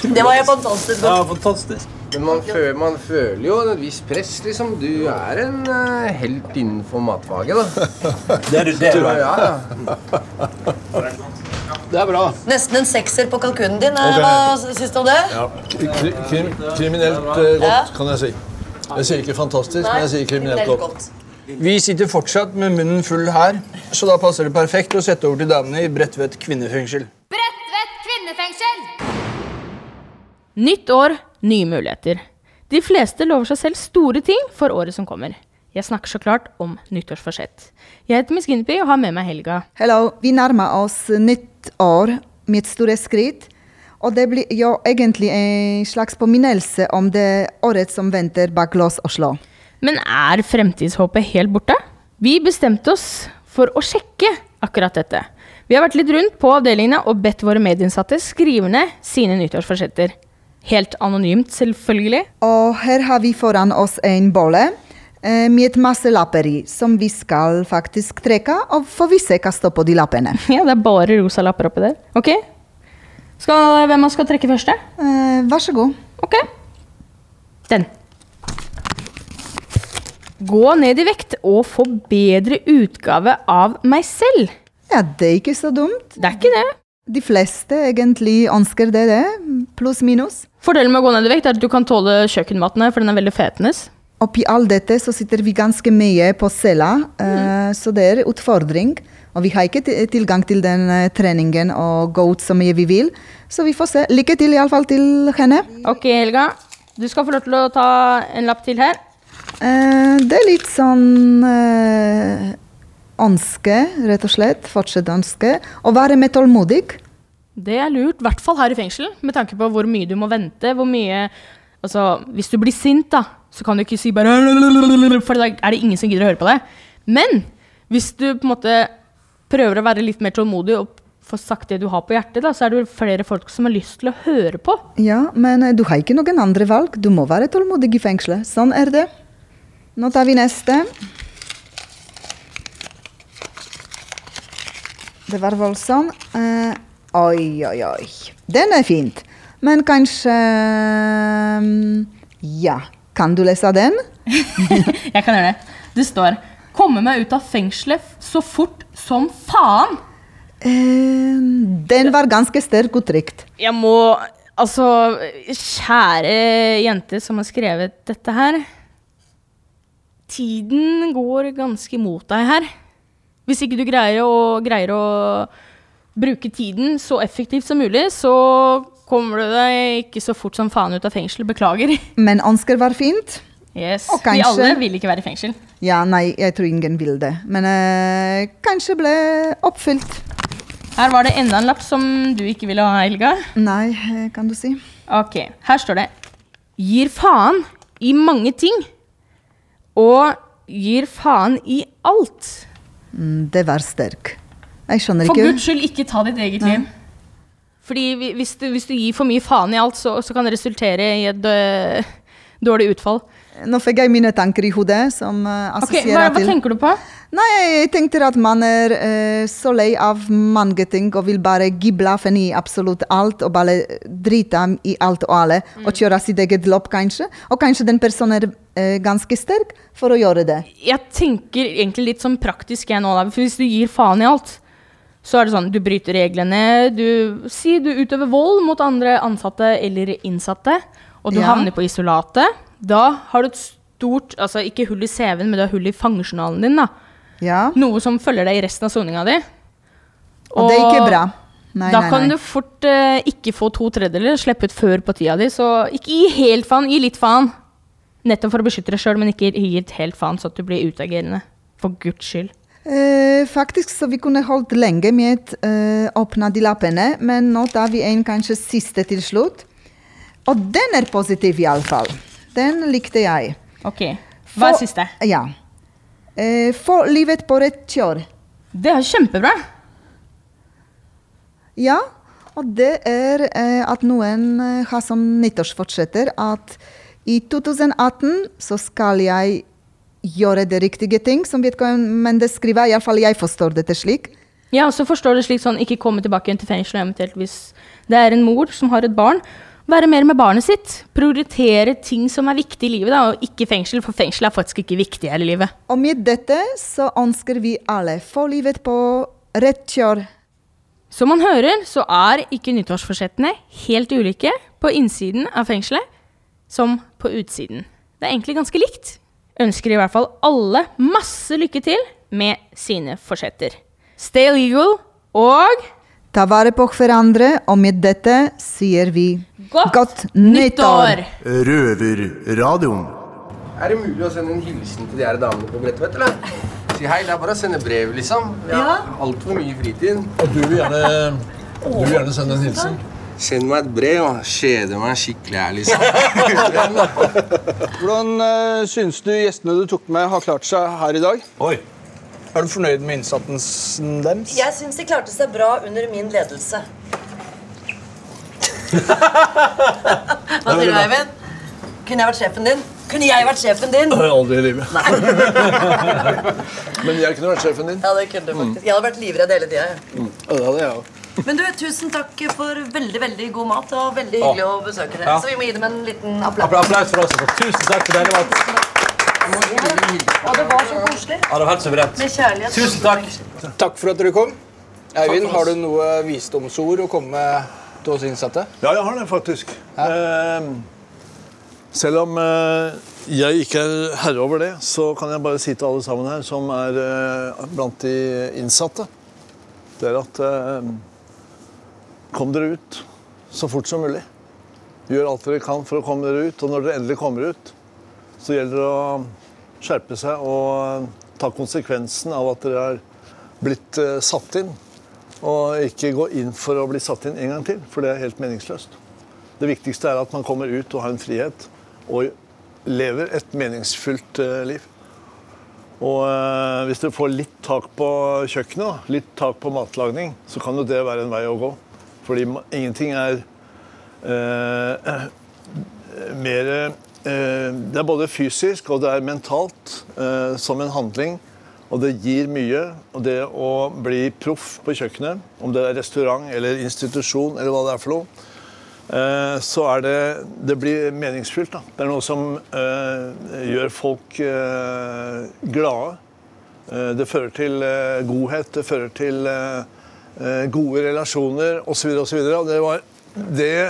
Speaker 4: Det var helt fantastisk godt.
Speaker 6: fantastisk.
Speaker 7: Men man føler, man føler jo et visst press, liksom. Du er en eh, helt innenfor matfaget, da.
Speaker 6: Det er du, det er du.
Speaker 7: Ja, ja.
Speaker 2: Det er bra.
Speaker 4: Nesten en sekser på kalkunen din. eh,
Speaker 8: Ok.
Speaker 4: Hva syns du om det?
Speaker 8: Kri krim kriminelt eh,
Speaker 4: Ja.
Speaker 8: godt, kan jeg si. Jeg sier ikke fantastisk, men jeg sier kriminelt godt.
Speaker 14: Vi sitter fortsatt med munnen full her, så da passer det perfekt å sette over til damene i Bredtvet kvinnefengsel.
Speaker 3: Bredtvet kvinnefengsel!
Speaker 15: Nytt år, nye muligheter. De fleste lover seg selv store ting for året som kommer. Jeg snakker så klart om nyttårsforsett. Jeg heter Miss Gunneby og har med meg Helga.
Speaker 16: Hello, vi nærmer oss nytt år med et store skritt. Og det blir jo egentlig en slags påminnelse om det året som venter bak lås og slå.
Speaker 15: Men er fremtidshåpet helt borte? Vi bestemte oss for å sjekke akkurat dette. Vi har vært litt rundt på avdelingene og bedt våre medinnsatte skrive ned sine nyttårsforsetter. Helt anonymt, selvfølgelig.
Speaker 16: Og her har vi foran oss en bolle eh, med masse lapper i, som vi skal faktisk trekke, og får vi se hva står på de lappene.
Speaker 15: Ja, det er bare rosa lapper oppi der. Ok. Skal, hvem av oss skal trekke første?
Speaker 16: Eh, vær så god.
Speaker 15: Ok. Den. Gå ned i vekt og få bedre utgave av meg selv.
Speaker 16: Ja, det er ikke så dumt.
Speaker 15: Det er ikke det.
Speaker 16: De fleste egentlig ønsker det, det. Pluss minus.
Speaker 15: Fordelen med å gå ned i vekt er at du kan tåle kjøkkenmaten her, for den er veldig fetende.
Speaker 16: Oppi all dette så sitter vi ganske mye på cella, eh, så det er utfordring. Og vi har ikke ti- tilgang til den eh, treningen og gå ut så mye vi vil, så vi får se. Lykke til iallfall til henne.
Speaker 15: Ok, Helga. Du skal få lov til å ta en lapp til her.
Speaker 16: Eh, det er litt sånn eh, ønske, rett og slett. Fortsett ønske. Å være mer tålmodig.
Speaker 15: Det er lurt, i hvert fall her i fengsel, med tanke på hvor mye du må vente. hvor mye... Altså, Hvis du blir sint, da, så kan du ikke si bare For da er det ingen som gidder å høre på deg. Men hvis du på en måte prøver å være litt mer tålmodig og får sagt det du har på hjertet, da, så er det jo flere folk som har lyst til å høre på.
Speaker 16: Ja, men eh, du har ikke noen andre valg. Du må være tålmodig i fengselet. Sånn er det. Nå tar vi neste. Det var voldsom. Eh, oi, oi, oi. Den er fint. Men kanskje mm, Ja. Kan du lese den?
Speaker 15: Jeg kan gjøre det. Det står 'Komme meg ut av fengselet f- så fort som faen'.
Speaker 16: Eh, den var ganske sterk uttrykt.
Speaker 15: Jeg må Altså, kjære jente som har skrevet dette her. Tiden går ganske imot deg her. Hvis ikke du greier å, greier å bruke tiden så effektivt som mulig, så kommer du deg ikke så fort som faen ut av fengsel. Beklager.
Speaker 16: Men ønsker var fint.
Speaker 15: Yes.
Speaker 16: Og
Speaker 15: Vi
Speaker 16: kanskje-
Speaker 15: alle vil ikke være i fengsel.
Speaker 16: Ja, nei, jeg tror ingen vil det. Men eh, kanskje ble oppfylt.
Speaker 15: Her var det enda en lapp som du ikke ville ha, Helga.
Speaker 16: Nei, Eh, kan du si.
Speaker 15: Ok, her står det Gir faen i mange ting. Og gir faen i alt.
Speaker 16: Mm, det var sterk. Jeg skjønner
Speaker 15: For
Speaker 16: ikke
Speaker 15: guds skyld, ikke ta ditt eget liv. Fordi vi- hvis du, hvis du gir for mye faen i alt, så, så kan det resultere i et øh, dårlig utfall.
Speaker 16: Nå fikk jeg mine tanker i hodet som eh,
Speaker 15: Ok,
Speaker 16: assosierer
Speaker 15: hva, hva
Speaker 16: til
Speaker 15: tenker du på?
Speaker 16: Nei, jeg tenkte at man er eh, så lei av mange ting og vil bare gi blaffen i absolutt alt og bare drite i alt og alle
Speaker 15: Mm.
Speaker 16: og kjøre sitt eget løp, kanskje. Og kanskje den personen er eh, ganske sterk for å gjøre det.
Speaker 15: Jeg tenker egentlig litt sånn praktisk jeg nå, da. For hvis du gir faen i alt, så er det sånn du bryter reglene, du Si du utøver vold mot andre ansatte eller innsatte, og du
Speaker 17: Ja.
Speaker 15: havner på isolatet. Da har du et stort Altså ikke hull i CV-en, men du har hull i fangejournalen din, da. Noe som følger deg i resten av soninga di.
Speaker 16: Og, det er ikke bra. Nei,
Speaker 15: da
Speaker 16: nei,
Speaker 15: kan
Speaker 16: nei.
Speaker 15: du fort eh, ikke få to tredjedeler slippe ut før på tida di, så ikke gi helt faen, gi litt faen. Nettopp for å beskytte deg sjøl, men ikke gi et helt faen så at du blir utagerende. For guds skyld.
Speaker 16: Eh, faktisk så vi kunne holdt lenge med eh, åpna de lappene, men nå tar vi en kanskje siste til slutt. Og den er positiv iallfall. Den likte jeg.
Speaker 15: Ok, hva er siste?
Speaker 16: Ja. Eh, få livet på rett kjør.
Speaker 15: Det er kjempebra.
Speaker 16: Ja, og det er eh, at noen eh, har som nyttårsfortsetter at i 2018 så skal jeg gjøre de riktige ting, som vedkommende skriver. Iallfall jeg forstår dette slik.
Speaker 15: Jeg også forstår det slik sånn, ikke komme tilbake igjen til fengselet eventuelt hvis det er en mor som har et barn. Være mer med barnet sitt. Prioritere ting som er viktig i livet, da, og ikke fengsel, for fengsel er faktisk ikke viktig her i livet.
Speaker 16: Og med dette så ønsker vi alle få livet på rett kjør.
Speaker 15: Som man hører, så er ikke nyttårsforsettene helt ulike på innsiden av fengselet som på utsiden. Det er egentlig ganske likt. Ønsker i hvert fall alle masse lykke til med sine forsetter. Stay legal og
Speaker 16: Ta vare på hverandre, og med dette sier vi
Speaker 15: Godt
Speaker 16: nyttår!
Speaker 5: Røverradioen.
Speaker 7: Er det mulig å sende en hilsen til de her damene på Bredtvet, eller? Si hei, det er bare å sende brev, liksom. Vi har altfor mye fritid. Og du vil gjerne, sende en hilsen? Send meg et brev og kjede meg skikkelig her, liksom.
Speaker 18: Hvordan eh, syns du gjestene du tok med, har klart seg her i dag?
Speaker 6: Oi.
Speaker 18: Er du fornøyd med innsatsen deres?
Speaker 19: Jeg syns de klarte seg bra under min ledelse. Hva sier du, Eivind? Kunne jeg vært sjefen din? Kunne jeg vært sjefen din?
Speaker 10: Aldri i livet. Men jeg kunne vært sjefen din.
Speaker 19: Ja, det kunne du faktisk. Jeg hadde vært livredd hele tida.
Speaker 10: Mm. Ja, det hadde jeg òg.
Speaker 19: Mm. Men du, tusen takk for veldig veldig god mat. og veldig hyggelig å besøke dere.
Speaker 10: Ja.
Speaker 19: Så vi må gi dem en liten applaus.
Speaker 10: Applaus for oss. altså. Tusen takk for denne maten.
Speaker 19: Og det var så koselig.
Speaker 10: Ja, det var helt suverent.
Speaker 19: Med kjærlighet.
Speaker 10: Tusen takk.
Speaker 18: Takk for at dere kom. Eivind,
Speaker 10: for oss.
Speaker 18: har du noe visdomsord å komme med til oss innsatte?
Speaker 8: Ja, jeg har det faktisk. Eh, selv om eh, jeg ikke er herre over det, så kan jeg bare si til alle sammen her som er eh, blant de innsatte, det er at eh, kom dere ut så fort som mulig. Gjør alt dere kan for å komme dere ut, og når dere endelig kommer ut, så gjelder det å skjerpe seg og eh, ta konsekvensen av at dere er blitt eh, satt inn. Og ikke gå inn for å bli satt inn en gang til, for det er helt meningsløst. Det viktigste er at man kommer ut og har en frihet, og lever et meningsfullt eh, liv. Og eh, hvis dere får litt tak på kjøkkenet, da, litt tak på matlagning, så kan jo det være en vei å gå. Fordi ma- ingenting er eh, mer eh, Det er både fysisk og det er mentalt eh, som en handling. Og det gir mye. Og det å bli proff på kjøkkenet, om det er restaurant eller institusjon eller hva det er for noe, eh, så er det Det blir meningsfylt, da. Det er noe som eh, gjør folk eh, glade. Eh, Det fører til eh, godhet, det fører til eh, eh, gode relasjoner osv. osv. Det var det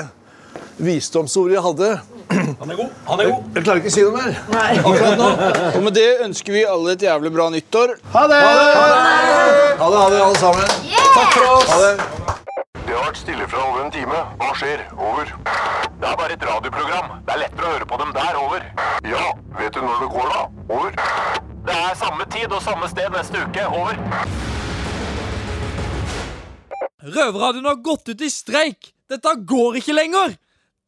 Speaker 8: visdomsordet jeg hadde. Han er god. Han er god. Jeg, jeg klarer ikke å si noe mer. Akkurat nå.
Speaker 2: Og med det ønsker vi alle et jævlig bra nyttår.
Speaker 8: Ha det! Ha det, ha det, alle sammen.
Speaker 20: Takk for oss!
Speaker 8: Ha det.
Speaker 20: Det har vært stille fra over en time. Hva skjer? Over. Det er bare et radioprogram. Det er lettere å høre på dem der. Over. Ja, vet du når det går, da? Over. Det er samme tid og samme sted neste uke. Over.
Speaker 7: Røverradioen har gått ut i streik! Dette går ikke lenger!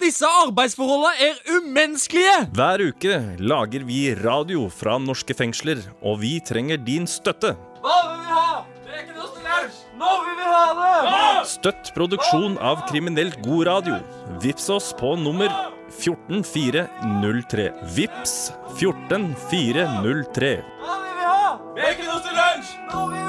Speaker 7: Disse arbeidsforholdene er umenneskelige!
Speaker 1: Hver uke lager vi radio fra norske fengsler, og vi trenger din støtte.
Speaker 7: Hva vil vi ha? Det er ikke noe slaus! Nå vil vi ha det!
Speaker 1: Støtt produksjon av kriminelt god radio. Vips oss på nummer 14403. Vips 14403.
Speaker 7: Hva vil vi ha? Det er ikke noe til lunsj! Nå vil vi